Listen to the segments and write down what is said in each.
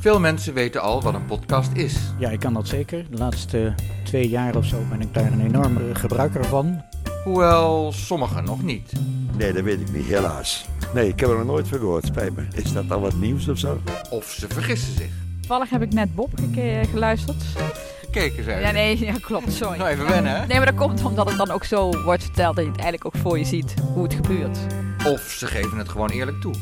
Veel mensen weten al wat een podcast is. Ja, ik kan dat zeker. De laatste twee jaar of zo ben ik daar een enorme gebruiker van. Hoewel sommigen nog niet. Nee, dat weet ik niet, helaas. Nee, ik heb er nog nooit van gehoord, spijt me. Is dat dan wat nieuws of zo? Of ze vergissen zich. Toevallig heb ik net Bob geke- geluisterd. Gekeken zijn. Ja, nee, ja, klopt, sorry. Nou, even wennen, hè? Nee, maar dat komt omdat het dan ook zo wordt verteld dat je het eigenlijk ook voor je ziet hoe het gebeurt. Of ze geven het gewoon eerlijk toe.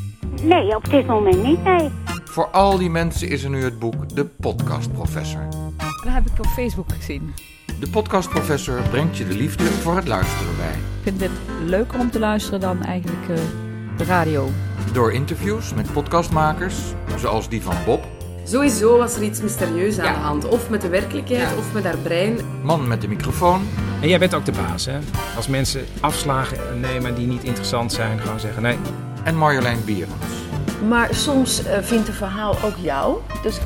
Nee, op dit moment niet, nee. Voor al die mensen is er nu het boek De Podcastprofessor. Dat heb ik op Facebook gezien. De Podcastprofessor brengt je de liefde voor het luisteren bij. Ik vind dit leuker om te luisteren dan eigenlijk eh, de radio. Door interviews met podcastmakers, zoals die van Bob, Sowieso was er iets mysterieus aan de hand. Of met de werkelijkheid, of met haar brein. man met de microfoon En jij bent ook de baas, hè? Als mensen afslagen nemen die niet interessant zijn, gewoon zeggen: nee, en Marjolein Bierens. Maar soms eh, vindt een verhaal ook jou. Dus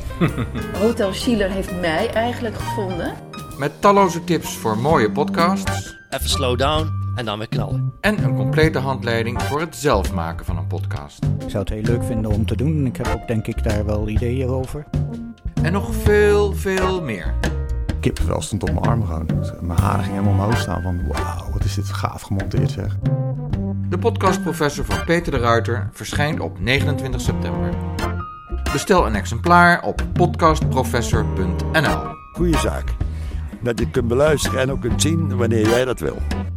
Hotel Schiller heeft mij eigenlijk gevonden. Met talloze tips voor mooie podcasts Even slow down en dan weer knallen. en een complete handleiding voor het zelf maken van een podcast. Ik zou het heel leuk vinden om te doen. Ik heb ook denk ik daar wel ideeën over. En nog veel, veel meer. kippenvel stond op mijn arm gewoon. Dus Mijn haren gingen helemaal omhoog staan van wauw, wat is dit gaaf gemonteerd zeg. De podcastprofessor van Peter de Ruiter verschijnt op 29 september. Bestel een exemplaar op podcastprofessor.nl. Goeie zaak. Dat je kunt beluisteren en ook kunt zien wanneer jij dat wil.